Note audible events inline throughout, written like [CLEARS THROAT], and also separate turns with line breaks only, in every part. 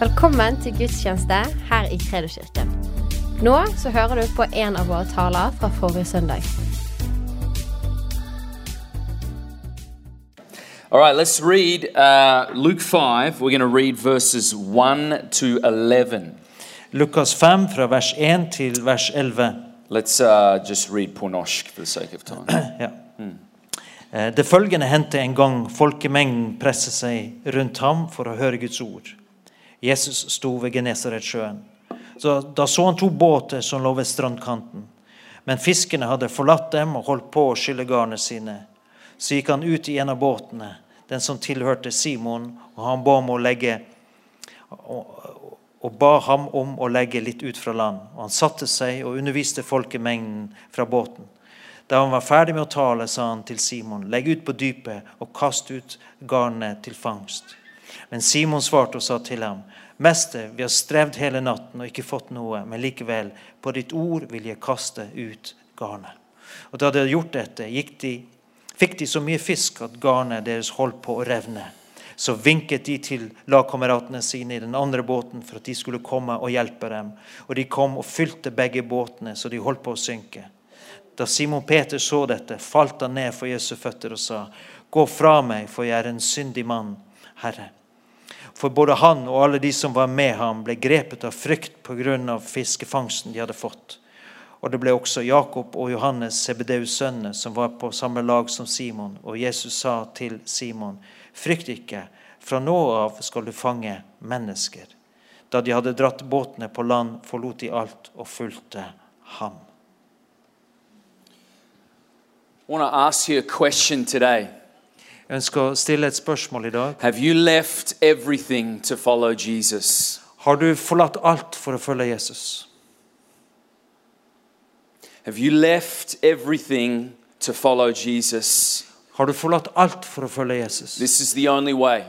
Velkommen til gudstjeneste her i Kredoskirken. Nå så hører du på en av våre taler fra forrige søndag.
All right, let's read uh, Luke 5. We're going to read verses 1 to 11.
Lukas 5, fra vers 1 til vers 11.
Let's uh, just read Pornosh for the sake of time.
[CLEARS THROAT] Ja. Eh, Det følgende hendte en gang folkemengden presset seg rundt ham for å høre Guds ord. Jesus sto ved Genesaretsjøen. Så, da så han to båter som lå ved strandkanten. Men fiskerne hadde forlatt dem og holdt på å skylle garnene sine. Så gikk han ut i en av båtene, den som tilhørte Simon, og han ba om å legge og ba ham om å legge litt ut fra land. Og han satte seg og underviste folkemengden fra båten. Da han var ferdig med å tale, sa han til Simon, legg ut på dypet og kast ut garnet til fangst. Men Simon svarte og sa til ham, Mester, vi har strevd hele natten og ikke fått noe, men likevel, på ditt ord vil jeg kaste ut garnet. Og da de hadde gjort dette, gikk de, fikk de så mye fisk at garnet deres holdt på å revne. Så vinket de til lagkameratene sine i den andre båten for at de skulle komme og hjelpe dem. Og de kom og fylte begge båtene, så de holdt på å synke. Da Simon Peter så dette, falt han ned for Jesu føtter og sa, Gå fra meg, for jeg er en syndig mann, Herre. For både han og alle de som var med ham, ble grepet av frykt pga. fiskefangsten de hadde fått. Og det ble også Jakob og Johannes, Sebedeus sønner, som var på samme lag som Simon. Og Jesus sa til Simon, frykt ikke, fra nå av skal du fange mennesker. Da de hadde dratt båtene på land, forlot de alt og fulgte ham.
I want to ask you a question today.
Jeg ønsker å stille et spørsmål i dag.
Have you left everything to follow Jesus?
Har du forlatt alt for å følge Jesus?
Have you left everything to follow Jesus?
Har du forlatt alt for å følge Jesus?
This is the only way.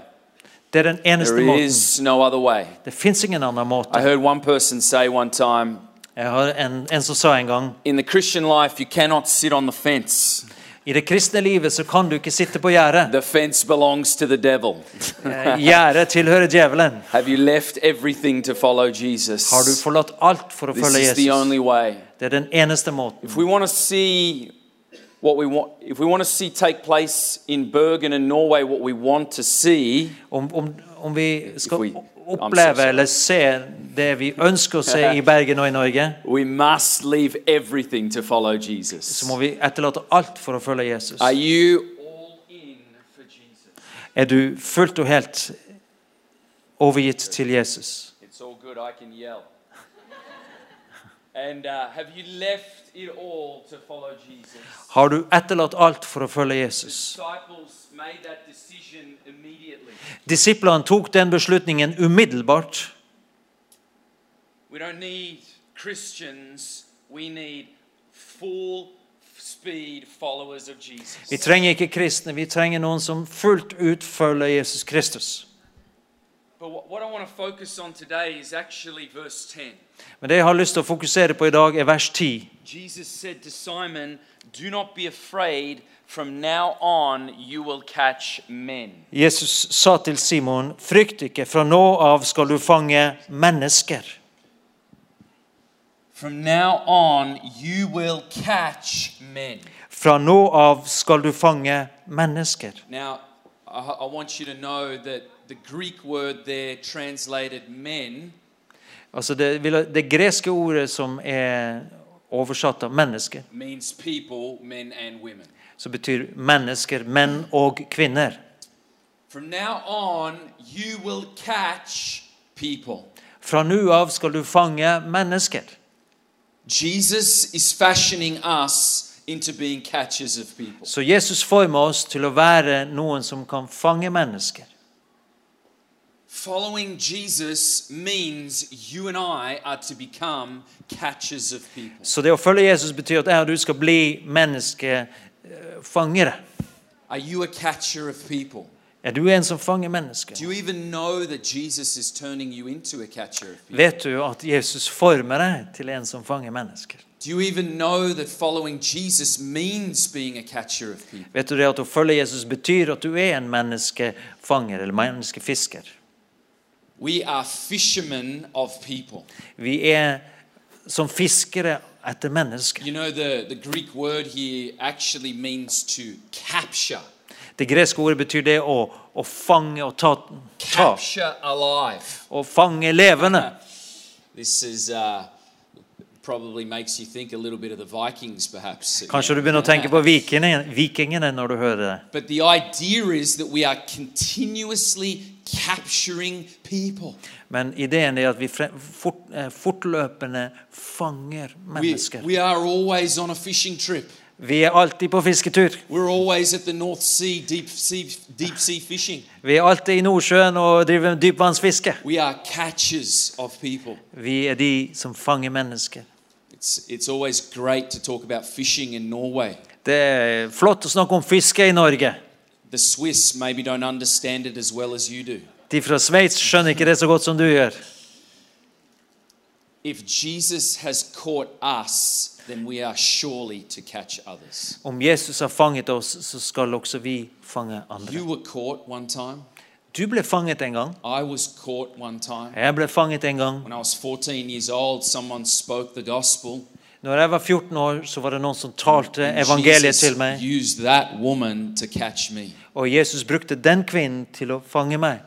Det er den eneste
There
måten.
is no other way.
Det fins ingen annen måte.
I heard one person say one time
Jeg har en, en som sa en gang
in the Christian life, you cannot sit on the fence,
I det kristne livet så kan du ikke sitte på gjerdet.
the fence belongs to the devil.
Eh, Gjerdet tilhører djevelen.
Have you left everything to follow Jesus?
Har du forlatt alt for å
This
følge
is the
Jesus?
only way.
Det er den eneste måten.
If we want to see what we want, if we want to see take place in Bergen and Norway, what we want to see,
Om, om, om vi skal
we- I'm so
oppleve
sorry.
eller se det vi ønsker å se i Bergen og i Norge,
we must leave everything to follow Jesus.
så må vi etterlate alt for å følge Jesus.
Are you all in for Jesus?
Er du fullt og helt overgitt til Jesus?
It's all good. I can yell. and uh, have you left it all to follow Jesus?
Har du etterlatt alt for å følge Jesus?
Disciples made that decision immediately.
Disiplene tok den beslutningen umiddelbart.
We don't need Christians, we need full speed followers of
Vi
Jesus.
trenger ikke kristne, vi trenger noen som fullt ut følger Jesus Kristus.
But what, what I want to focus on today is actually verse 10.
Men det jeg har lyst til å fokusere på i dag, er vers 10.
Jesus said to Simon, Do not be afraid, from now on you will catch men.
Jesus sa til Simon, frykt ikke, fra nå av skal du fange mennesker.
From now on you will catch men.
Fra nå av skal du fange mennesker.
Now, I, I want you to know that the Greek word there translated men
Altså det, vil- det greske ordet som er oversatt av mennesker,
means people, men and women.
som betyr mennesker, menn og kvinner.
From now on, you will catch people.
Fra nå av skal du fange mennesker.
Jesus is fashioning us into being catchers of people.
Så Jesus former oss til å være noen som kan fange mennesker.
Following Jesus means you and I are to become catchers of people.
Så det å følge Jesus betyr at jeg og du skal bli eh, menneskefangere.
Are you a catcher of people?
Er du en som fanger mennesker?
Do you even know that Jesus is turning you into a catcher of people?
Vet du at Jesus former deg til en som fanger mennesker?
Do you even know that following Jesus means being a catcher of people?
Vet du det at å følge Jesus betyr at du er en menneskefanger eller menneskefisker?
We are fishermen of people.
Vi er som fiskere etter mennesker.
You know, the, the Greek word here actually means to capture,
Det greske ordet betyr det å, å fange og ta, ta.
capture alive.
Å fange levende.
This is uh, probably makes you think a little bit of the Vikings, perhaps.
Kanskje du begynner å tenke på vikingene, vikingene når du hører det.
But the idea is that we are continuously capturing people.
Men ideen er at vi fre- fort, eh, fortløpende fanger
We,
mennesker.
we are always on a fishing trip.
Vi er alltid på fisketur.
We're always at the North Sea, deep sea, deep sea fishing.
Vi er alltid i Nordsjøen og driver med dypvannsfiske.
We are catchers of people.
Vi er de som fanger mennesker.
It's, it's always great to talk about fishing in Norway.
Det er flott å snakke om fiske i Norge.
The Swiss maybe don't understand it as well as you do.
De fra Sveits skjønner ikke det så godt som du gjør.
If Jesus has caught us, then we are surely to catch others.
Om Jesus har fanget oss, så skal også vi fange andre.
You were caught one time.
Du ble fanget en gang.
I was caught one time.
Jeg ble fanget en gang.
When I was 14 years old, someone spoke the gospel.
Når jeg var 14 år, så var det noen som talte
and
evangeliet
Jesus
til meg.
used that woman to catch me.
Og Jesus brukte den kvinnen til å fange meg.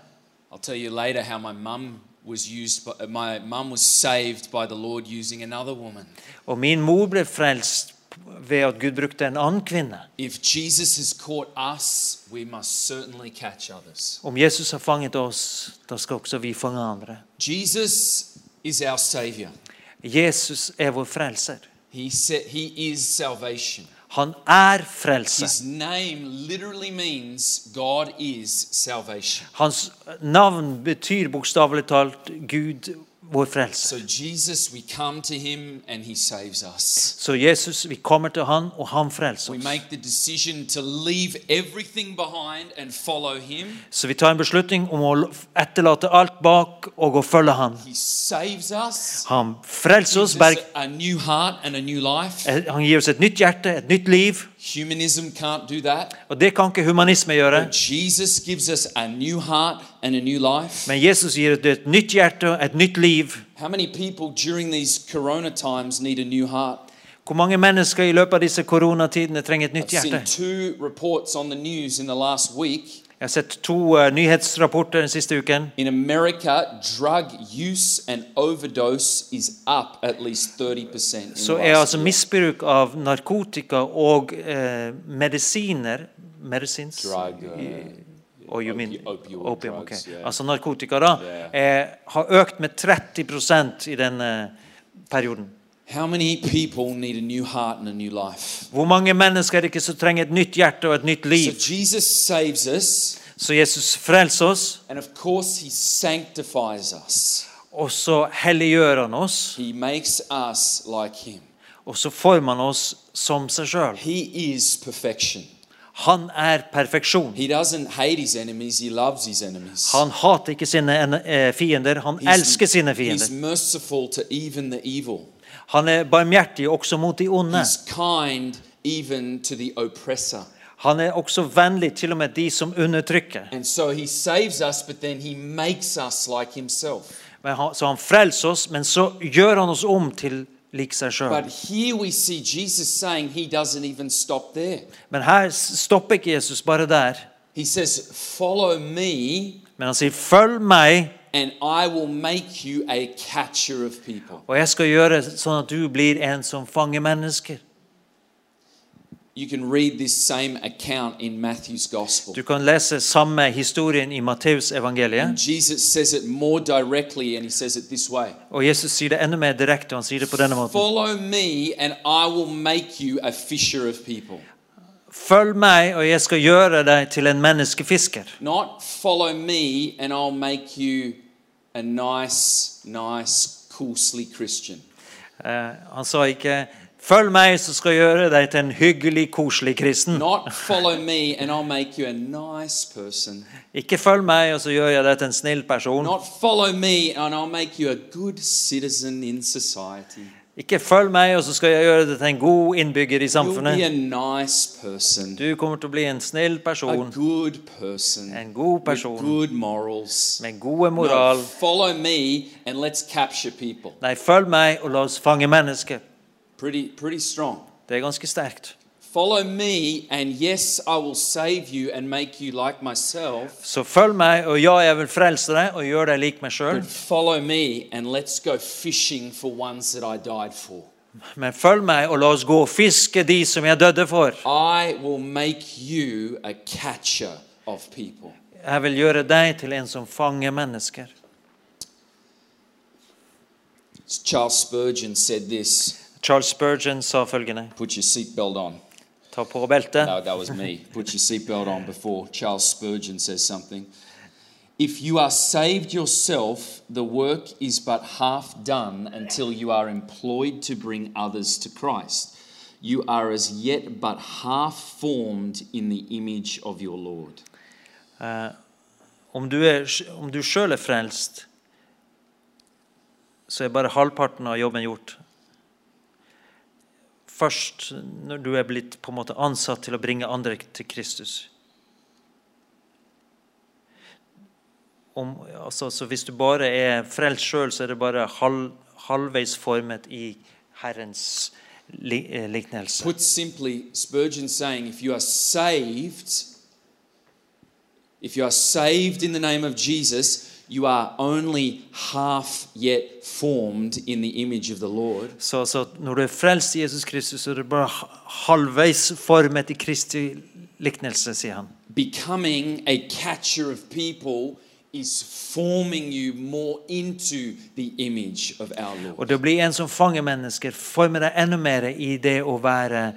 I'll tell you later how my mum was used by, uh, my mum was saved by the Lord using another woman.
Og min mor ble frelst ved at Gud brukte en annen kvinne.
If Jesus has caught us, we must certainly catch others.
Om Jesus har fanget oss, da skal også vi fange andre.
Jesus is our savior.
Jesus er vår frelser.
He said he is salvation.
Han er frelser.
His name literally means God is salvation.
Hans navn betyr bokstavelig talt Gud, vår frelser.
So Jesus, we come to him and he saves us.
Så Jesus, vi kommer til han, og han frelser
We
oss.
make the decision to leave everything behind and follow him.
Så vi tar en beslutning om å etterlate alt bak og å følge han.
He saves us.
Han frelser oss,
gives us
berg,
a new heart and a new life.
eh, han gir oss et nytt hjerte, et nytt liv.
Humanism can't do that.
Og det kan ikke humanisme gjøre.
But Jesus gives us a new heart and a new life.
Men Jesus gir oss et nytt hjerte, et nytt liv.
How many people during these corona times need a new heart?
Hvor mange mennesker i løpet av disse koronatidene trenger et
I've
nytt hjerte?
seen two reports on the news in the last week.
Jeg har sett to eh, nyhetsrapporter den siste uken.
In America, drug use and overdose is up at least 30% in
Så
the
er
last
altså
year.
misbruk av narkotika og eh, medisiner Medisins?
drug uh,
Oh, you mean
opioid
opium,
drugs,
ok.
yeah.
Altså narkotika, da.
Yeah.
eh, har økt med 30 i denne perioden.
How many people need a new heart and a new life?
Hvor mange mennesker er det ikke som trenger et nytt hjerte og et nytt
So
liv?
Jesus saves us,
Så Jesus frelser oss,
and of course, he sanctifies us.
og så helliggjør han oss,
He makes us like him.
og så former han oss som seg sjøl.
He is perfection.
Han er perfeksjon.
He doesn't hate his enemies, he loves his enemies.
Han hater ikke sine en- eh, fiender, han elsker sine
He's
fiender.
merciful to even the evil.
Han er barmhjertig også mot de onde.
He's kind even to the oppressor.
Han er også vennlig til og med de som undertrykker.
And so he saves us, but then he makes us like himself.
Men han, så han frelser oss, men så gjør han oss om til lik seg
But
sjøl.
here we see Jesus saying he doesn't even stop there.
Men her s- stopper ikke Jesus bare der.
He says, Follow me,
Men han sier, 'Følg meg,
and I will make you a catcher of people.
og jeg skal gjøre sånn at du blir en som fanger mennesker'.
You can read this same account in Matthew's gospel.
Du kan lese samme historien i
And
Matteusevangeliet,
Jesus says it more directly, and he says it this way
og Jesus sier det enda mer direkte. Han sier det på denne måten.
Follow me, and I will make you a fisher of people.
'Følg meg, og jeg skal gjøre deg til en menneskefisker'.
Not follow me and I'll make you a nice, nice, coarsely Christian.
Eh, han sa ikke 'følg meg, så skal jeg gjøre deg til en hyggelig, koselig kristen'.
Not follow me and I'll make you a nice person.
Ikke 'følg meg, og så gjør jeg deg til en snill person'.
Not follow me and I'll make you a good citizen in society.
Ikke følg meg, og så skal jeg gjøre deg til en god innbygger
You'll
i
be a
samfunnet.
nice person,
Du kommer til å bli en snill
a
person,
good person,
en god
with
person
good morals.
med gode
No,
moral.
follow me and let's capture people.
Nei, følg meg, og la oss fange mennesker.
Pretty, pretty strong.
Det er ganske sterkt.
Follow me, and yes, I will save you and make you like myself.
Så følg meg, og ja, jeg vil frelse deg og gjøre deg lik meg sjøl.
But follow me, and let's go fishing for ones that I died for.
Men følg meg, og la oss gå og fiske de som jeg døde for.
I will make you a catcher of people.
Jeg vil gjøre deg til en som fanger mennesker.
Charles Spurgeon said this.
Charles Spurgeon sa følgende
Put your seatbelt on.
Ta på beltet.
No, that was me. Put your seatbelt on before Charles Spurgeon says something. If you are saved yourself, the work is but half done until you are employed to bring others to Christ. You are as yet but half formed in the image of your Lord.
Om du, er, om du sjøl er frelst, så er bare halvparten av jobben gjort. Først når du er blitt på en måte ansatt til å bringe andre til Kristus. Om, altså, så hvis du bare er frelst sjøl, så er det bare halv, halvveis formet i Herrens li, eh, lignelse.
Put simply, Spurgeon saying, if you are saved, if you are saved in the name of Jesus, you are only half yet formed in the image of the Lord.
Så, så når du er frelst i Jesus Kristus, så er du bare halvveis formet i Kristi liknelse, sier han.
Becoming a catcher of people is forming you more into the image of our
Og
Lord.
det å bli en som fanger mennesker, former deg enda mer i det å være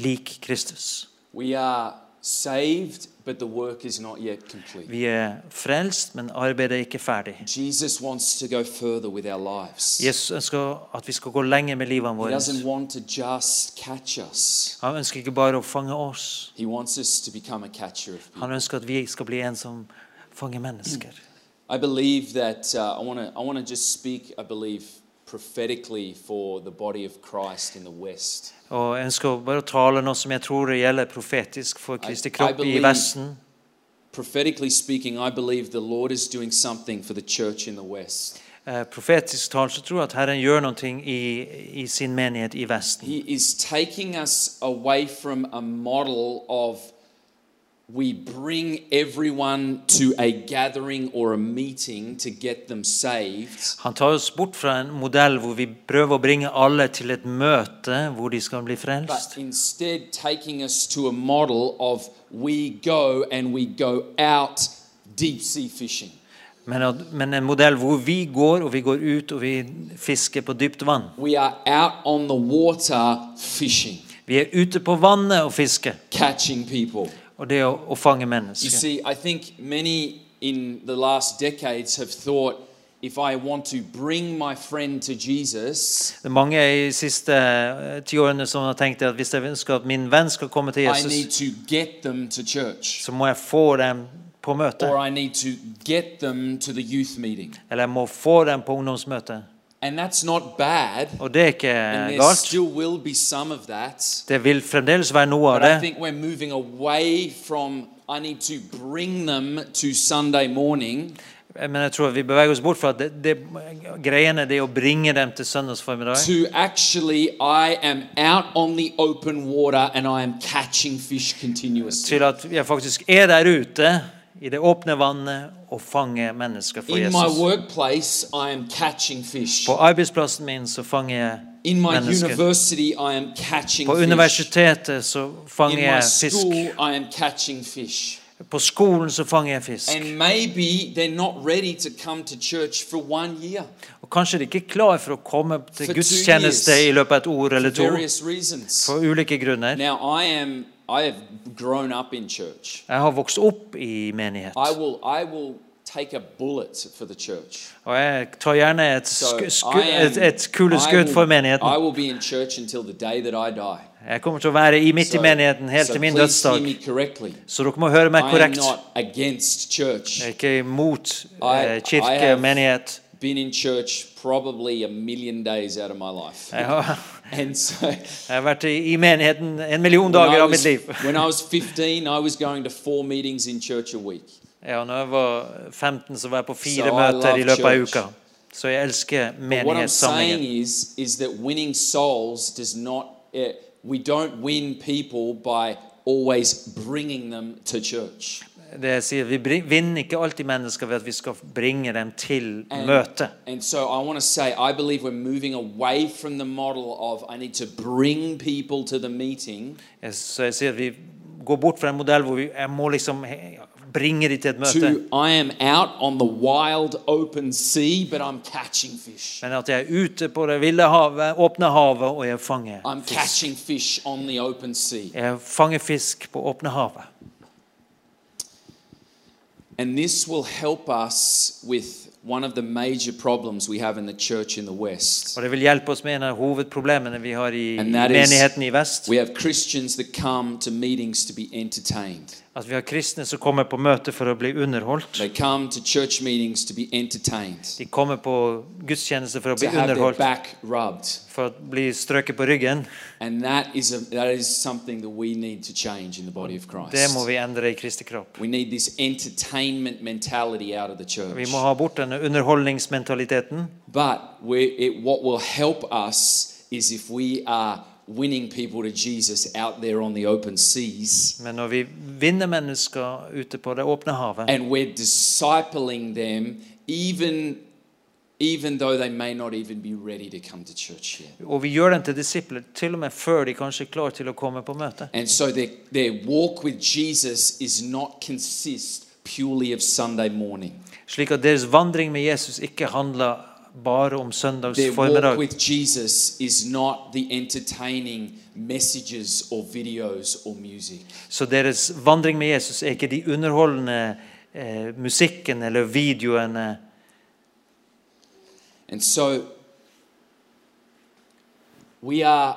lik Kristus.
We are saved, but the work is not yet complete.
Vi er frelst, men arbeidet er ikke ferdig.
Jesus wants to go further with our lives.
Jesus ønsker at vi skal gå lenger med livene
He
våre.
doesn't want to just catch us.
Han ønsker ikke bare å fange oss.
He wants us to become a catcher of people.
Han ønsker at vi skal bli en som fanger mennesker.
I believe that uh, I want to. I want to just speak. I believe prophetically for the body of Christ in the West.
Og jeg ønsker bare å tale noe som jeg tror gjelder profetisk for Kristi
I
kropp i
believe-
Vesten.
Prophetically speaking, I believe the Lord is doing something for the church in the West.
Eh, profetisk talt så tror jeg at Herren gjør noe i, i sin menighet i Vesten.
He is taking us away from a model of we bring everyone to a gathering or a meeting to get them saved
Han tar oss bort fra en modell hvor vi prøver å bringe alle til et møte hvor de skal bli
but
frelst,
instead taking us to a model of we go and we go out deep sea fishing.
men, at, men en modell hvor vi går, og vi går ut og vi fisker på dypt vann.
We are out on the water fishing,
Vi er ute på vannet og fisker,
catching people.
og det å, å fange
You
mennesker.
see, I think many in the last decades have thought if I want to bring my friend to Jesus,
Det er mange i de siste eh, tiårene som har tenkt at hvis jeg ønsker at min venn skal komme til
I need
Jesus,
to get them to church
så må jeg få dem på møte,
or I need to get them to the youth meeting.
eller jeg må få dem på ungdomsmøte.
And that's not bad.
Og det er ikke
And there
galt.
still will be some of that.
Det vil fremdeles være noe av
But I
det.
think we're moving away from I need to bring them to Sunday morning
Men jeg tror vi beveger oss bort fra at det, det, greiene det er å bringe dem til søndagsformiddag.
to actually I am out on the open water and I am catching fish continuously.
Til at jeg faktisk er der ute i det åpne vannet og fanger mennesker
In
for
my
Jesus.
workplace, I am catching fish.
På arbeidsplassen min så fanger jeg
In my
mennesker.
university, I am catching
På
fish.
universitetet så fanger
In my
jeg fisk.
school, I am catching fish.
På skolen så fanger jeg fisk.
And maybe they're not ready to come to church for one year
Og kanskje de ikke er klar for å komme til
For two
gudstjeneste
years.
i løpet av et ord
for
eller to.
various reasons.
For ulike grunner.
Now, I am. I have grown up in church.
Jeg har vokst opp i menighet.
I will. I will take a bullet for the church.
Og jeg tar gjerne et,
So
sku, sku,
I am-
et, et kuleskudd
I
for
will- I
menigheten.
will be in church until the day that I die.
Jeg kommer til å være i midt
So-
i menigheten helt
so
til min
please hear
dødsdag.
me correctly.
Så dere må høre meg
I am
korrekt.
not against church.
Jeg er ikke imot
I-
eh,
I
kirke
have-
og menighet.
been in church probably a million days out of my life.
Jeg har,
And so
jeg har vært i i menigheten en million
when I
dager av mitt
was,
liv.
when I was 15, I was going to four meetings in church a week.
[LAUGHS] Ja, når jeg var 15, så var jeg på fire
So I
møter
love
i løpet av
church.
uka. Så jeg elsker
But what I'm saying
menighetssamlingen.
is, is that winning souls does not, eh, we don't win people by always bringing them to church.
Det jeg sier, Vi bri- vinner ikke alltid mennesker ved at vi skal bringe dem til
And-
møtet.
And so I want to say, I believe we're moving away from the model of I need to bring people to the meeting
Jeg- Eh, Så jeg sier at vi går bort fra en modell hvor vi, jeg må liksom he- bringe dem til et møte.
to I am out on the wild open sea, but I'm catching fish.
Men at jeg er ute på det ville havet, åpne havet, og jeg fanger
I'm
fisk.
catching fish on the open sea.
Jeg fanger fisk på åpne havet.
And this will help us with one of the major problems we have in the church in the West.
Og det vil hjelpe oss med en av hovedproblemene vi har i i
And that is-
menigheten i vest.
We have Christians that come to meetings to be entertained.
At vi har kristne som kommer på møte for å bli underholdt.
They come to church meetings to be entertained,
De kommer på gudstjeneste for å bli
to have their
underholdt,
back rubbed.
for å bli strøket på ryggen.
And that is, a, that is something that we need to change in the body of Christ.
Det må vi endre i Kristi kropp.
We need this entertainment mentality out of the church.
Vi må ha bort denne underholdningsmentaliteten.
But we, it, what will help us is if we are winning people to Jesus out there on the open seas
Men når vi vinner mennesker ute på det åpne havet,
and we're discipling them, even, even though they may not even be ready to come to church yet.
og vi gjør dem til disipler, til og med før de kanskje er klar til å komme på møte,
And so their, their walk with Jesus is not consist purely of Sunday morning.
slik at deres vandring med Jesus ikke handler bare om søndags
Their walk
formiddag.
with Jesus is not the entertaining messages or videos or music.
Så deres vandring med Jesus er ikke de underholdende eh, musikken eller videoene.
And so we are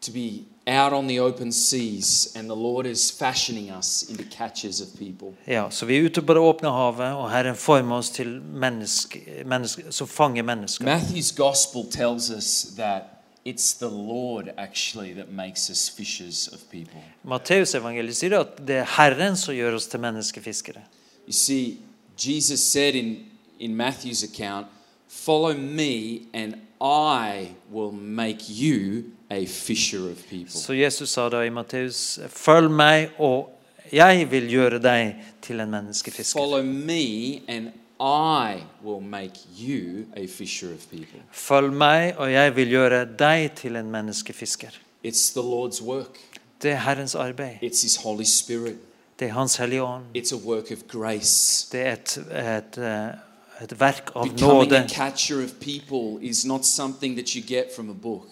to be out on the open seas, and the Lord is fashioning us into catchers of people.
Ja, så vi er ute på det åpne havet, og Herren former oss til menneske, menneske, som fanger mennesker.
Matthew's gospel tells us that it's the Lord actually that makes us fishers of people.
Matteusevangeliet sier at det er Herren som gjør oss til menneskefiskere.
You see, Jesus said in, in Matthew's account, Follow me, and I will make you a fisher of people.
Så Jesus sa da i Matteus, følg meg, og jeg vil gjøre deg til en menneskefisker.
Follow me, and I will make you a fisher of people.
Følg meg, og jeg vil gjøre deg til en menneskefisker.
It's the Lord's work,
Det er Herrens arbeid.
it's His Holy Spirit,
Det er Hans Hellige Ånd.
it's a work of grace.
Det er et, et, eh, et verk av
Becoming
nåde.
a catcher of people is not something that you get from a book.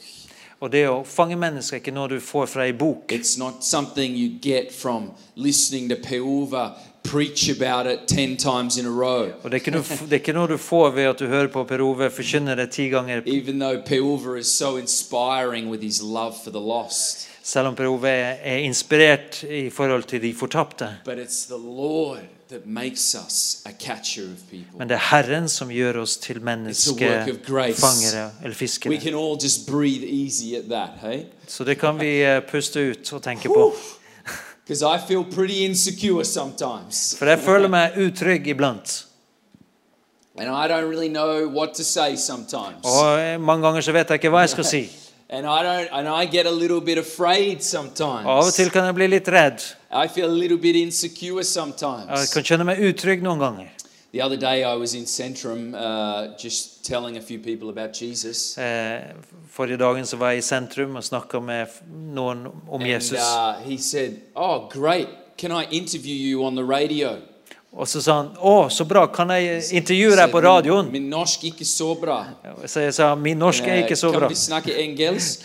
Og det å fange mennesker er ikke noe du får fra ei bok.
It's not something you get from listening to Peuva preach about it 10 times in a row.
Og det er, ikke noe, f- det er ikke noe du får ved at du hører på Per Ove forkynne det ti ganger.
Even though Peuva is so inspiring with his love for the lost,
Selv om Per Ove er er inspirert i forhold til de fortapte.
but it's the Lord that makes us a catcher of people.
Men det er Herren som gjør oss til
work of grace.
menneskefangere eller
We
fiskere.
can all just breathe easy at that, hey?
Så det kan vi eh, puste ut og tenke på.
Because I feel pretty insecure sometimes.
For jeg føler meg utrygg iblant.
And I don't really know what to say sometimes.
Og eh, mange ganger så vet jeg ikke hva jeg skal si.
And I don't and I get a little bit afraid sometimes.
Og av og til kan jeg bli litt redd.
I feel a little bit insecure
Jeg
sometimes.
kan kjenne meg utrygg noen ganger.
The other day I was in Centrum uh, just telling a few people about Jesus.
Eh, Forrige dagen så var jeg i sentrum og snakka med f- noen om
And
Jesus.
uh, he said, "Oh, great. Can I interview you on the radio?"
Og så sa han 'Å, så bra, kan jeg intervjue
I
deg
said,
på radioen?'
Min norsk ikke så bra.
Så jeg sa 'Min norsk er ikke så
Eh,
bra'.
Kan vi snakke engelsk?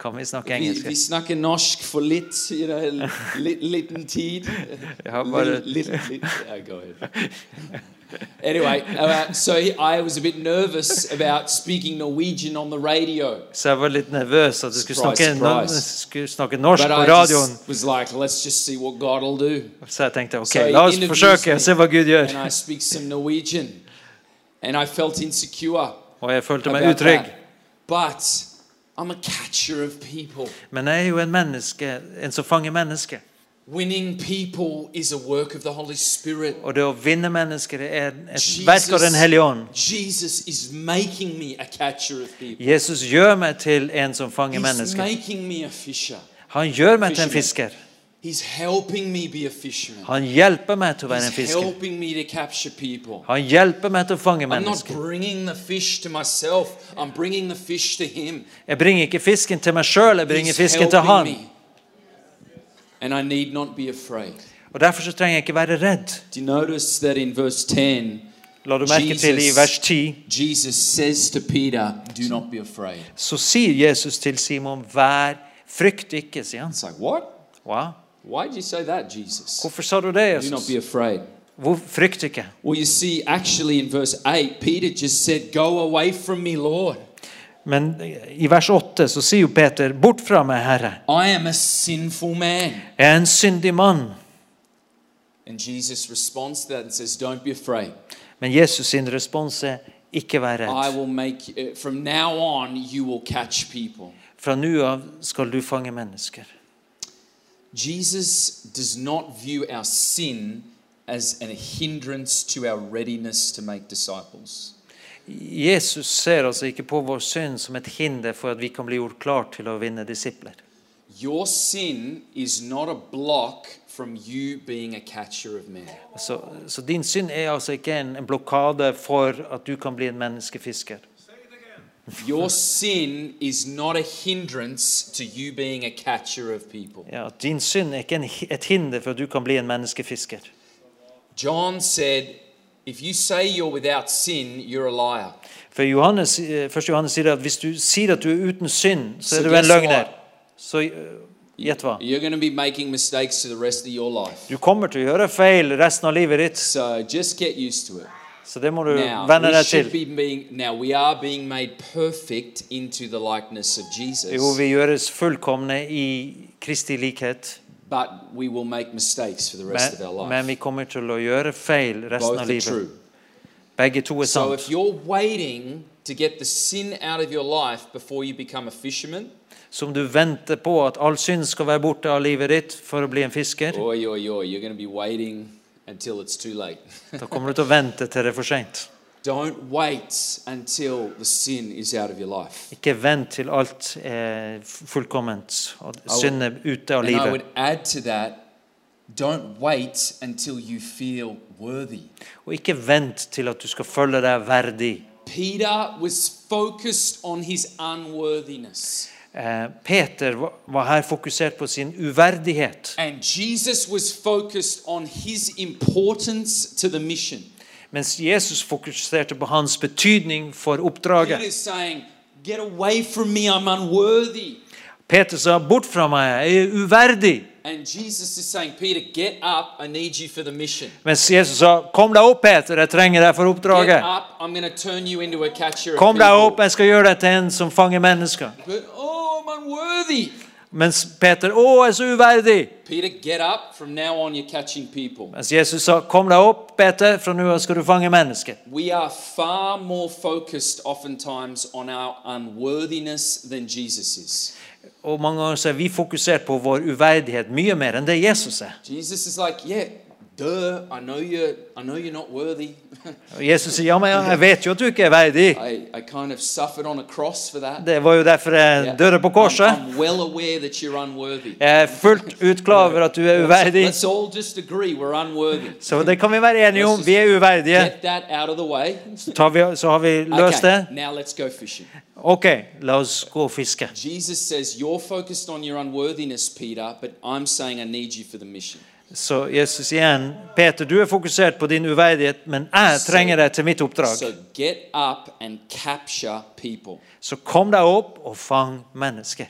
Kan vi snakke
Vi,
engelsk?
vi snakker norsk for litt, you know, litt liten tid.
Ja, bare-
Litt, litt, litt. Yeah, go ahead. Anyway, uh, so he- I was a bit nervous about speaking Norwegian on the radio.
Så jeg var litt nervøs at jeg skulle snakke,
Surprise, surprise.
skulle snakke norsk
But
på
I
radioen.
just was like, let's just see what God will do.
Så jeg tenkte ok,
So he
la oss
interviews
forsøke
me.
og se hva Gud gjør.
And I speak some Norwegian. and I felt insecure.
og jeg følte meg
about
er utrygg.
that. But I'm a catcher of people.
Men jeg er jo en menneske, en som fanger mennesker.
Winning people is a work of the Holy Spirit.
Og det å vinne mennesker er et verk av Den hellige ånd.
Jesus, Jesus is making me a catcher of people.
Jesus gjør meg til en som fanger
He's
mennesker.
making me a fisher.
Han gjør meg til en
Fisherman.
fisker.
He's helping me be a fisherman.
Han hjelper meg til å være en
He's
fisker.
helping me to capture people.
Han er hjelper meg til å fange
I'm not
mennesker.
bringing the fish to myself. I'm bringing the fish to him.
Jeg bringer ikke fisken til meg sjøl, jeg bringer
He's
fisken til
helping
han.
me. And I need not be afraid.
Og Derfor så trenger jeg ikke være redd.
Do you notice that in verse 10,
La du merke til i
Jesus-
vers 10,
Jesus says to Peter, Do not be afraid.
så sier Jesus til Simon, vær frykt ikke, sier han.
It's like, What?
Wow.
Why did you say that, Jesus?
Hvorfor sa du det,
Do not
Jesus?
be afraid.
Hvor frykt ikke?
Well, you see, actually, in verse 8, Peter just said, Go away from me, Lord.
Men i vers 8 så sier jo Peter, bort fra meg, Herre.
I am a sinful man.
Jeg er en syndig mann.
And Jesus responds to that and says, Don't be afraid.
Men Jesus sin respons er, ikke vær
I
redd.
will make, uh, from now on, you will catch people.
Fra nå av skal du fange mennesker.
Jesus does not view our sin as an hindrance to our readiness to make disciples.
Jesus ser altså ikke på vår synd som et hinder for at vi kan bli gjort klar til å vinne disipler.
Your sin is not a block from you being a catcher of men.
Så, så din synd er altså ikke en, en blokade for at du kan bli en menneskefisker.
Your sin is not a hindrance to you being a catcher of people.
Ja, at din synd er ikke en, hi- et hinder for at du kan bli en menneskefisker.
John said, If you say you're without sin, you're a liar.
For Johannes, eh, første Johannes sier at hvis du sier at du er uten synd, så
Så
er du en
guess
løgner.
what?
Så eh, gjett hva.
You're going to be making mistakes to the rest of your life.
Du kommer til å gjøre feil resten av livet ditt,
So just get used to it.
så det må du
Now
venne
we
deg
should
til.
be being now we are being made perfect into the likeness of
Jo,
Jesus,
vi gjøres fullkomne i Kristi likhet,
but we will make mistakes for the rest
men,
of our life.
men vi kommer til å gjøre feil resten
Both
av
are
livet.
true.
Begge to er
So
sant.
if you're waiting to get the sin out of your life before you become a fisherman,
Som du venter på at all synd skal være borte av livet ditt for å bli en fisker,
oi oi oi, you're going to be waiting until it's too late. [LAUGHS]
da kommer du til å vente til det er for seint.
Don't wait until the sin is out of your life.
Ikke vent til alt er fullkomment og synd er ute av
And I
livet.
would add to that, don't wait until you feel worthy.
Og ikke vent til at du skal føle deg verdig.
Peter was focused on his unworthiness,
Eh, Peter va- var her fokusert på sin uverdighet,
and Jesus was focused on his importance to the mission.
mens Jesus fokuserte på hans betydning for
Peter
oppdraget.
is saying, Get away from me, I'm unworthy.
Peter sa 'bort fra meg, jeg er uverdig',
And Jesus is saying, Peter, get up, I need you for the mission.
mens Jesus sa 'kom deg opp, Peter, jeg trenger deg for
Get
oppdraget'.
up, I'm going to turn you into a catcher of
Kom deg opp,
people.
jeg skal gjøre deg til en som fanger mennesker.
But, oh, I'm unworthy.
Mens Peter 'Å, jeg er så uverdig'.
Peter, get up. From now on, you're catching people.
Mens Jesus sa 'Kom deg opp, Peter, fra nå av skal du fange mennesker'.
We are far more focused oftentimes on our unworthiness than Jesus is.
Og mange ganger så er vi fokusert på vår uverdighet mye mer enn det Jesus er.
Jesus is like, yeah, duh, I know you're, I know you're not worthy. [LAUGHS]
Og Jesus sier, ja, men jeg vet jo at du ikke er verdig.
I, I kind of suffered on a cross for that.
Det var jo derfor jeg
Yeah.
døde på korset.
I'm, I'm well aware that you're unworthy.
Jeg er fullt ut klar over at du er uverdig.
Let's all just agree we're unworthy.
Så det kan vi være enige om. Vi er uverdige.
Get that out of the way.
Så, tar vi, så har vi løst det.
Okay, now let's go fishing.
Ok, la oss gå og fiske.
Jesus says, You're focused on your unworthiness, Peter, but I'm saying I need you for the mission.
Så Jesus igjen, Peter, du er fokusert på din uverdighet, men jeg trenger deg til mitt oppdrag.
So get up and capture people.
Så kom deg opp og fang mennesker.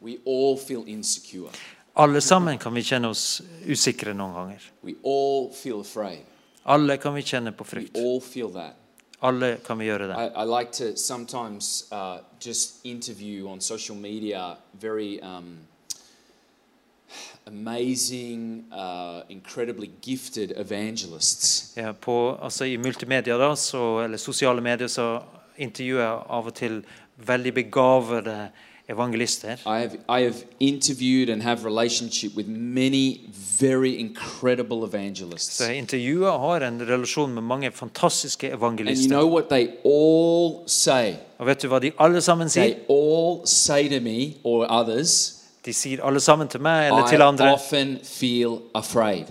We all feel insecure,
Alle sammen kan vi kjenne oss usikre noen ganger.
we all feel afraid,
Alle kan vi kjenne på
we
frykt.
all feel that.
Alle kan vi gjøre det.
I, I like to sometimes uh, just interview on social media very um, amazing, uh, incredibly gifted evangelists.
Ja, på, altså I multimedia, da, så, eller sosiale medier, så intervjuer jeg av og til veldig begavede evangelister.
I have, I have interviewed and have relationship with many very incredible evangelists.
Så jeg intervjuer og har en relasjon med mange fantastiske
And you
evangelister.
know what they all say?
Og vet du hva de alle sammen sier?
They all say to me or others,
De sier alle sammen til meg eller
I
til andre.
often feel afraid.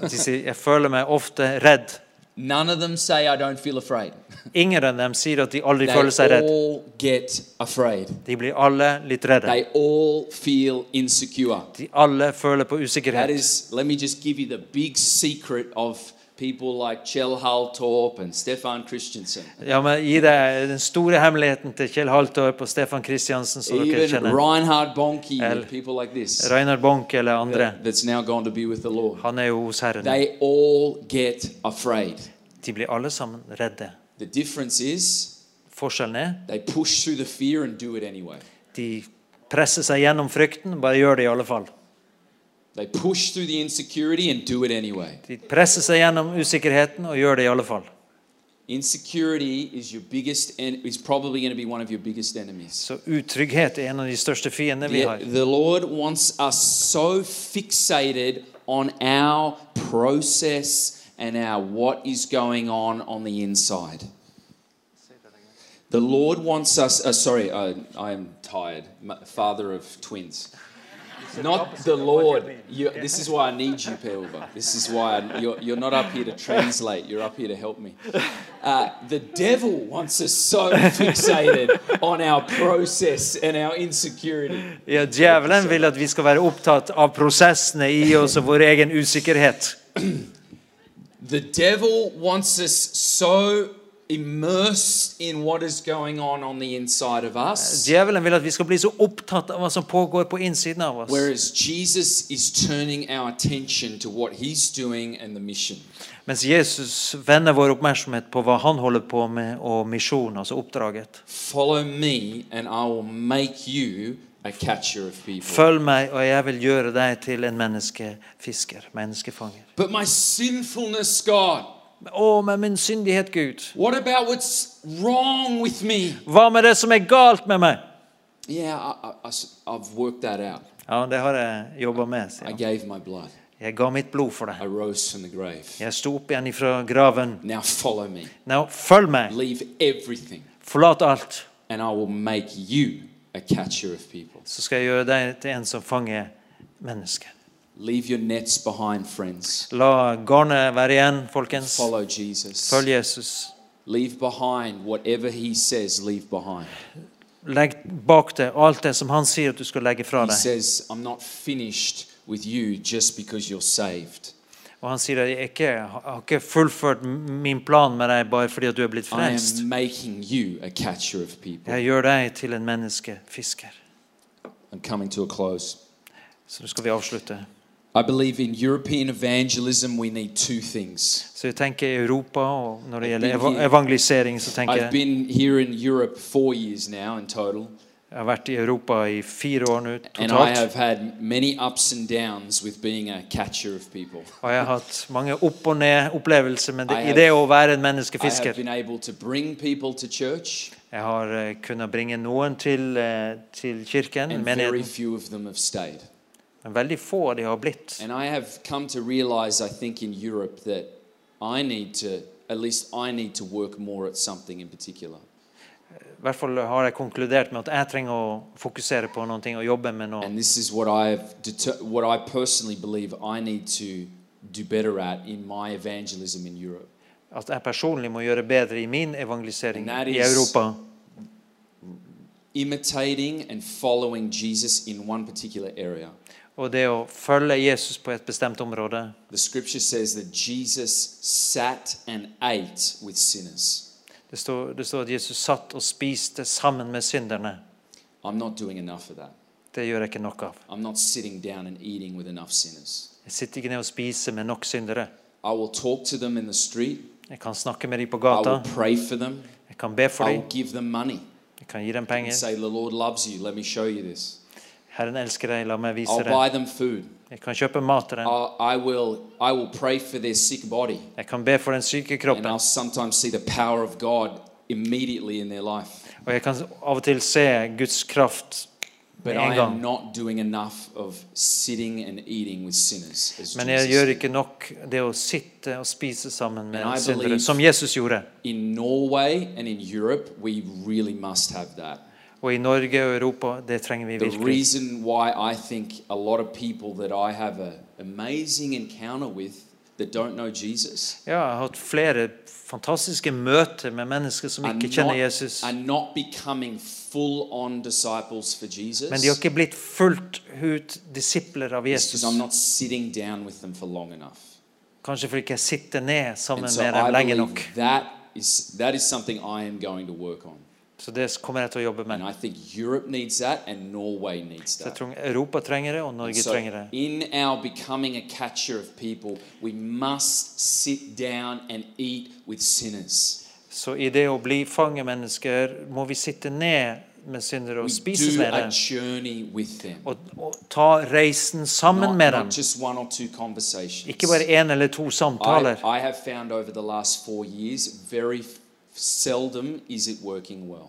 De sier, jeg føler meg ofte redd.
None of them say I don't feel afraid.
Ingen av dem sier at de aldri
They
føler seg redd.
all get afraid.
De blir alle litt redde.
They all feel insecure.
De alle føler på
That
usikkerhet.
is, let me just give you the big secret of people like Kjell Haltorp and Stefan Christensen.
Ja, men Gi deg den store hemmeligheten til Kjell Haltorp og Stefan Kristiansen, som dere
Even
kjenner.
Reinhard Bonnke
El-
and people like this
Reinhard Bonk eller andre.
that's now gone to be with the Lord.
Han er jo hos Herren.
They all get afraid.
De blir alle sammen redde.
The difference is
Forskjellen er
they push through the fear and do it anyway.
de presser seg gjennom frykten, bare gjør det i alle fall.
They push through the insecurity and do it anyway.
De presser seg gjennom usikkerheten og gjør det i alle fall.
Insecurity is your biggest en- is probably going to be one of your biggest enemies.
Så utrygghet er en av de største fiendene vi
The,
har.
the Lord wants us so fixated on our process and our what is going on on the inside. The Lord wants us. Uh, sorry, I, I am tired. M- Father of twins. Not the Lord. You, this is why I need you, Pelva. This is why I, you're, you're not up here to translate. You're up here to help me. Uh, the devil wants us so fixated on our process and our insecurity.
Ja, djevelen vil at vi skal være opptatt av prosessene i oss og vår egen usikkerhet.
The devil wants us so immersed in what is going on on the inside of us,
Djevelen vil at vi skal bli så opptatt av hva som pågår på innsiden av oss.
whereas Jesus is turning our attention to what he's doing and the mission.
Mens Jesus vender vår oppmerksomhet på hva han holder på med, og misjonen, altså oppdraget.
Follow me, and I will make you a catcher of people.
Følg meg, og jeg vil gjøre deg til en menneskefisker, menneskefanger.
But my sinfulness, God,
Å, men min syndighet, Gud.
what about what's wrong with me?
Hva med det som er galt med meg?
Yeah, I, have worked that out.
Ja, det har jeg jobba med. sier
I
han.
gave my blood,
Jeg ga mitt blod for
I
deg.
rose from the grave.
Jeg sto opp igjen ifra graven.
Now follow me,
Nå, følg meg.
leave everything.
Forlat alt,
and I will make you a catcher of people.
så skal jeg gjøre deg til en som fanger mennesker.
Leave your nets behind, friends.
La garnet være igjen, folkens.
Follow Jesus.
Følg Jesus.
Leave behind whatever he says, leave behind.
Legg bak deg alt det som han sier at du skal legge fra
He
deg.
says, I'm not finished with you just because you're saved.
Og han sier at jeg ikke, jeg har ikke fullført min plan med deg bare fordi at du er blitt
I
frelst.
am making you a catcher of people.
Jeg gjør deg til en menneskefisker.
I'm coming to a close.
Så nå skal vi avslutte.
I believe in European evangelism, we need two things.
Så jeg tenker Europa, og når det
I've
gjelder
been
eva
here.
evangelisering, så tenker
I've
jeg
been here in Europe four years now in total,
Jeg har vært i Europa i fire år nå
and I
totalt.
have had many ups and downs with being a catcher of people.
Og jeg har hatt mange opp og ned opplevelser med det,
I
i
have-
det å være en
I have
menneskefisker.
been able to bring people to church,
Jeg har eh, kunnet bringe noen til, eh, til kirken,
and very
menigheten,
few Mm, of them have stayed.
men veldig få av de har blitt.
And I have come to realize, I think, in Europe that I need to, at least I need to work more at something in particular.
I hvert fall har jeg konkludert med at jeg trenger å fokusere på noen ting og jobbe med noe.
And this is what I've, deter- what I personally believe I need to do better at in my evangelism in Europe.
At jeg personlig må gjøre bedre i min evangelisering
And that
i
is-
Europa.
Imitating and following Jesus in one particular area.
Og det å følge Jesus på et bestemt område.
The scripture says that Jesus sat and ate with sinners.
Det står, det står at Jesus satt og spiste sammen med synderne.
I'm not doing enough of that.
Det gjør jeg ikke nok av.
I'm not sitting down and eating with enough sinners.
Jeg sitter ikke ned og spiser med nok syndere.
I will talk to them in the street.
Jeg kan snakke med dem på
I will
gata.
pray for them.
Jeg kan be for
I
dem.
will give them money
Jeg kan gi dem
and
penger.
say, The Lord loves you. Let me show you this.
Herren elsker deg, la meg vise
I'll
deg.
buy them food.
Jeg kan kjøpe mat til dem.
I, I will, I will pray for their sick body,
Jeg kan be for den syke
and
kroppen.
I'll sometimes see the power of God immediately in their life.
Og jeg kan av og til se Guds kraft
But
med
I
en
am
gang.
not doing enough of sitting and eating with sinners. As
Men jeg
Jesus
gjør
did.
ikke nok det å sitte og spise sammen med
And I
syndere,
believe-
som Jesus gjorde.
In Norway and in Europe, we really must have that.
Og i Norge og Europa, det trenger vi
The
virkelig.
reason why I think a lot of people that I have an amazing encounter with that don't know Jesus
Ja, jeg har hatt flere fantastiske møter med mennesker som
are
ikke kjenner Jesus.
not, are not becoming full on disciples for Jesus.
Men de har ikke blitt fullt ut disipler av
It's
Jesus.
because I'm not sitting down with them for long enough.
Kanskje fordi jeg ikke sitter ned sammen
And so
med dem
I
lenge
believe
nok.
that is that is something I am going to work on.
Så det kommer jeg til å jobbe
And
med.
I think Europe needs that and Norway needs
Så jeg
that.
tror Europa trenger det, og
And
Norge
so
trenger det.
in our becoming a catcher of people, we must sit down and eat with sinners.
Så i det å bli fangemennesker må vi sitte ned med syndere og
We
spise
do
med
a
dem.
journey with them.
Og, og ta reisen sammen
Not,
med
not
dem.
just one or two conversations.
Ikke bare én eller to
I,
samtaler.
I have found over the last four years, very f- seldom is it working well.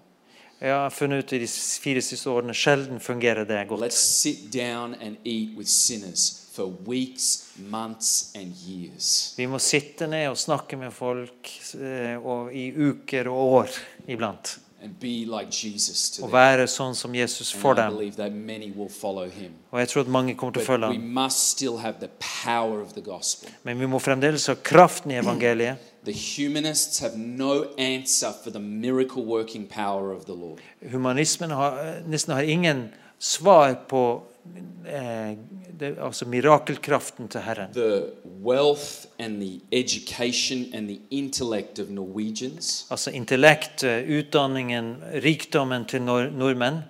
Jeg har funnet ut i de fire siste årene sjelden fungerer det godt.
Let's sit down and eat with sinners for weeks, months, and years.
Vi må sitte ned og snakke med folk eh, og i uker og år iblant.
And be like Jesus to
Og
them.
være sånn som Jesus for
And I
dem.
believe that many will follow him.
Og jeg tror at mange kommer til å følge
But we
ham.
must still have the power of the gospel.
Men vi må fremdeles ha kraften i evangeliet.
The humanists have no answer for the miracle working power of the Lord.
Humanismen har, eh, nesten har ingen svar på eh, det, altså mirakelkraften til Herren.
The wealth and the education and the intellect of Norwegians
Altså intellekt, eh, utdanningen, rikdommen til nor nordmenn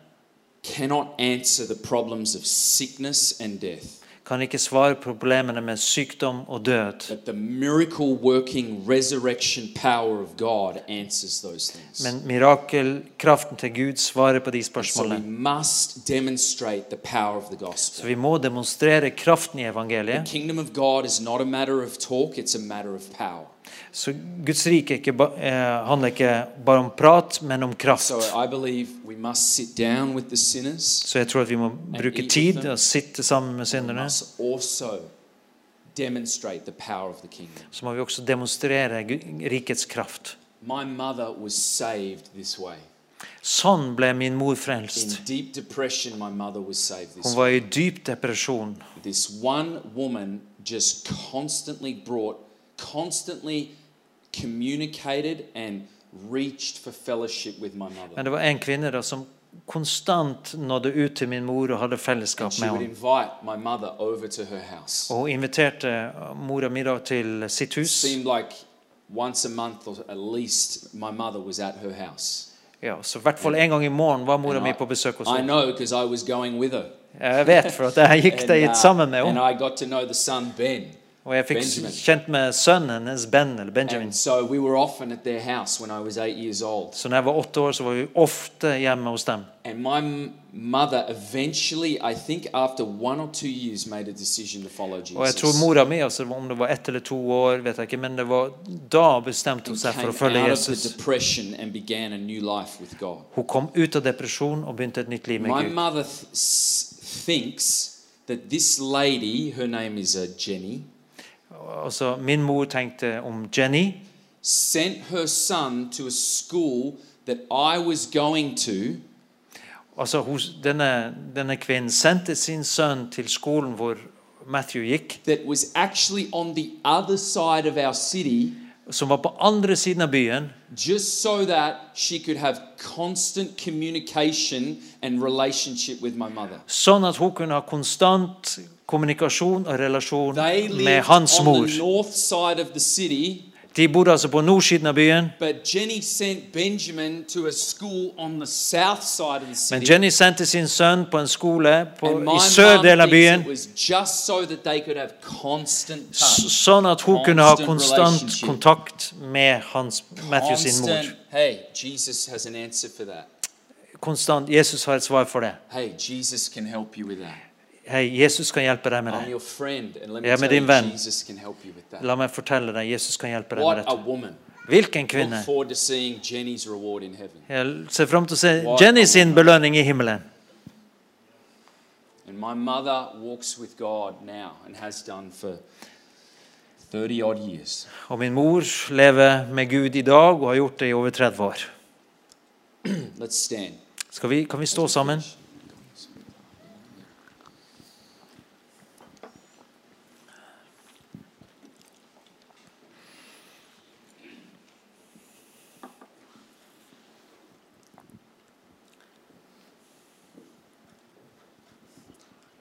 cannot answer the problems of sickness and death.
kan ikke svare på problemene med sykdom og død.
But the miracle working resurrection power of God answers those things.
Men mirakelkraften til Gud svarer på de
so we
spørsmålene.
must demonstrate the power of the
Så
gospel.
vi må demonstrere kraften i
The
evangeliet.
kingdom of God is not a matter of talk, it's a matter of power.
Så Guds rike er ikke, ba- eh, handler ikke bare om prat, men om kraft.
So I believe we must sit down with the sinners.
Så jeg tror at vi må bruke tid og sitte sammen med
We
synderne.
must also demonstrate the power of the kingdom.
Så må vi også demonstrere Gu- rikets kraft.
My mother was saved this way.
Sånn ble min mor
In
frelst.
deep depression, my mother was saved
Hun
this way.
var i dyp depresjon.
This one woman just constantly brought, constantly communicated and reached for fellowship with my mother.
Men det var en kvinne da som konstant nådde ut til min mor og hadde fellesskap
She
med
would
henne.
invite my mother over to her house.
Og hun inviterte mora mi da til sitt hus.
seemed like once a month or at least my mother was at her house.
Ja, Så i hvert fall en gang i morgen var mora
And
mi
I-
på besøk hos
I
henne.
know because I was going with her.
Jeg vet, for at jeg gikk
uh,
dit sammen med
and
henne.
I got to know the son Ben.
Og jeg fikk
Benjamin.
kjent med sønnen hennes, Ben, eller Benjamin.
And so we were often at their house when I was eight years old.
Så når jeg var åtte år, så var vi ofte hjemme hos dem.
And my m- mother eventually, I think after one or two years, made a decision to follow
Og jeg tror
Jesus.
mora mi, altså om det var ett eller to år, vet jeg ikke, men det var da bestemte hun
And
seg for å
came
følge
out of the
Jesus.
depression and began a new life with God.
Hun kom ut av depresjon og begynte et nytt liv med
My
Gud.
mother th- s- thinks that this lady, her name is uh, Jenny,
Altså, min mor tenkte om Jenny.
sent her son to a school that I was going to
Altså, hun, denne, denne kvinnen sendte sin sønn til skolen hvor Matthew gikk,
that was actually on the other side of our city
som var på andre siden av byen,
just so that she could have constant communication and relationship with my mother.
sånn at hun kunne ha konstant kommunikasjon og relasjon
They
med
lived
hans
on
mor.
the north side of the city,
De bodde altså på nordsiden av byen,
but Jenny sent Benjamin to a school on the south side of the
men
city.
Jenny sendte sin sønn på en skole på,
and my
i
mum
sør del av
thinks
byen,
it was just so that they could have constant
s-
touch.
sånn at hun kunne ha
Constant
konstant
relationship.
kontakt med hans, Matthew sin mor.
Constant, hey, Jesus has an answer for that.
Konstant. Jesus har et svar for det.
Hey, Jesus can help you with that.
Hei, Jesus kan hjelpe deg med
I'm
det.
your friend, and let
Ja,
me
men
tell you,
din vän.
Jesus can help you with that.
La meg fortelle deg, Jesus kan hjelpe deg med
What a
dette.
woman.
Hvilken
Look
kvinne?
forward to seeing Jenny's reward in heaven.
Jeg ser fram til å se Jenny sin belønning i himmelen.
And my mother walks with God now and has done for 30 odd years.
Og min mor lever med Gud i dag og har gjort det i over 30 år.
Let's stand.
Skal vi, kan vi stå sammen?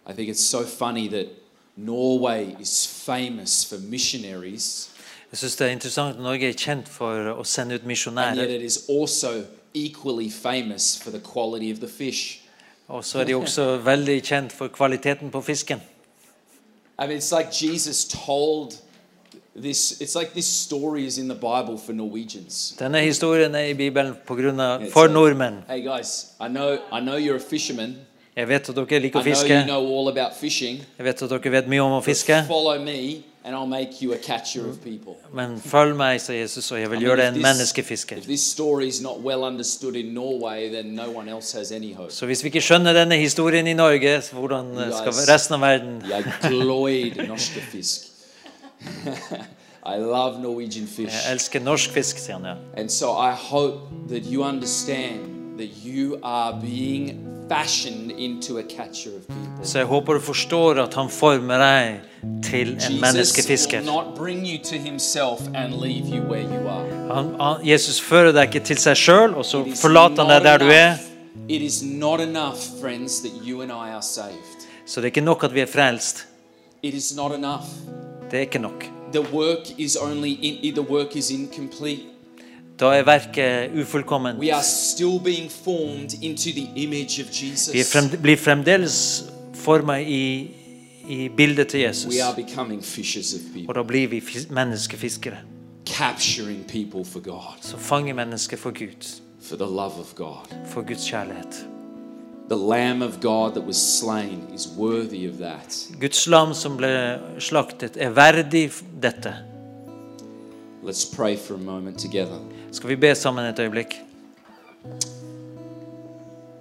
I think it's so funny that Norway is famous for missionaries,
Jeg syns det er interessant at Norge er kjent for å sende ut
and yet
misjonærer.
it is also equally famous for the quality of the fish.
Og så er de også veldig kjent for kvaliteten på fisken.
I mean, it's like Jesus told this, it's like this story is in the Bible for Norwegians.
Denne historien er i Bibelen på grunn av, for nordmenn.
Hey guys, I know, I know you're a fisherman.
Jeg vet at dere liker
I
å
know
fiske.
you know all about fishing.
Jeg vet at dere vet mye om å fiske.
Follow me, and I'll make you a catcher of people.
Men følg meg, sa Jesus, og
I
jeg vil
mean,
gjøre
if
deg en
this-
menneskefisker.
If this story is not well understood in Norway, then no one else has any hope.
Så hvis vi ikke skjønner denne historien i Norge, så hvordan eh, skal
Yes.
resten av verden
Jeg gloid norske fisk. [LAUGHS] I love Norwegian fish.
[LAUGHS] Jeg elsker norsk fisk, sier han. ja.
And so I hope that you understand that you are being fashioned into a catcher of people.
Så jeg håper du forstår at han former deg til en
Jesus will
menneskefisker.
not bring you to himself and leave you where you are.
Han, han, Jesus fører deg ikke til seg sjøl, og så
It is
forlater han
not
deg der du er.
enough- It is not enough, friends, that you and I are saved.
Så det er ikke nok at vi er frelst.
It is not enough.
Det er ikke nok.
The work is only in, the work is incomplete.
Da er verket ufullkomment.
We are still being formed into the image of Jesus.
Vi er frem, blir fremdeles forma i, i bildet til Jesus.
We are becoming fishers of
Og
people,
da blir vi fis menneskefiskere.
capturing people for God,
Som fanger mennesker for Gud.
for the love of God.
For Guds kjærlighet.
The Lamb of God that was slain is worthy of that.
Guds lam som ble slaktet, er verdig f- dette.
Let's pray for a moment together.
Skal vi be sammen et øyeblikk?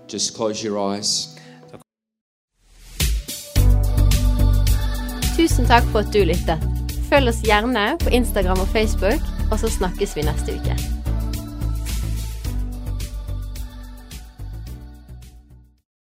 Just close your eyes.
Tusen takk for at du lyttet. Følg oss gjerne på Instagram og Facebook, og så snakkes vi neste uke.